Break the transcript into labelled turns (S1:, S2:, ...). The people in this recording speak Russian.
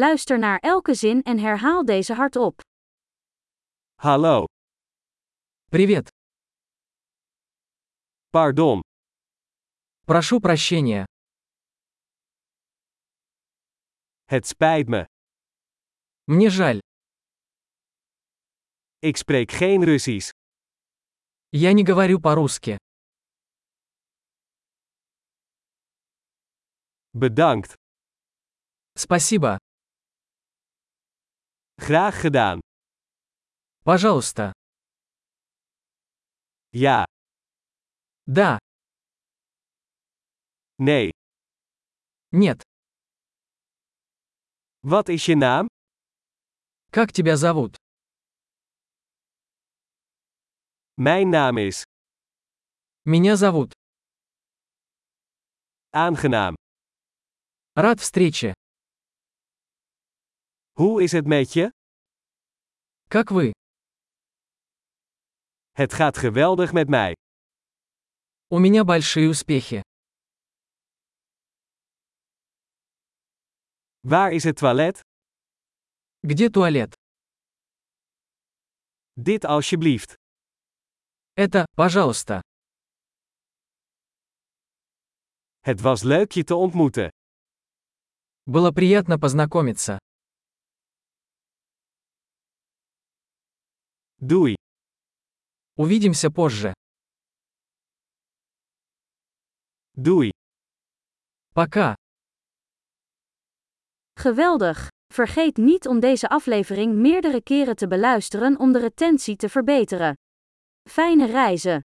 S1: Luister naar elke zin en herhaal deze hardop.
S2: Hallo,
S3: Привет.
S2: pardon,
S3: Прошу прощения.
S2: het spijt me.
S3: Мне жаль.
S2: Ik spreek geen Russisch.
S3: Я не говорю по-русски.
S2: Bedankt,
S3: Спасибо.
S2: graag gedaan.
S3: Пожалуйста.
S2: Ja,
S3: Да.
S2: nee.
S3: Нет.
S2: Wat is je naam?
S3: Как тебя зовут?
S2: Mijn naam is.
S3: Меня зовут.
S2: Aangenaam.
S3: Рад встрече.
S2: Hoe is het met je?
S3: Как вы?
S2: Het gaat geweldig met mij.
S3: У меня большие успехи.
S2: Waar is het toilet?
S3: Где туалет?
S2: Dit alsjeblieft.
S3: Это, пожалуйста.
S2: Het was leuk je te ontmoeten.
S3: Было приятно познакомиться.
S2: Doei.
S3: Увидимся позже.
S2: Doei.
S3: Пока.
S1: Geweldig! Vergeet niet om deze aflevering meerdere keren te beluisteren om de retentie te verbeteren. Fijne reizen!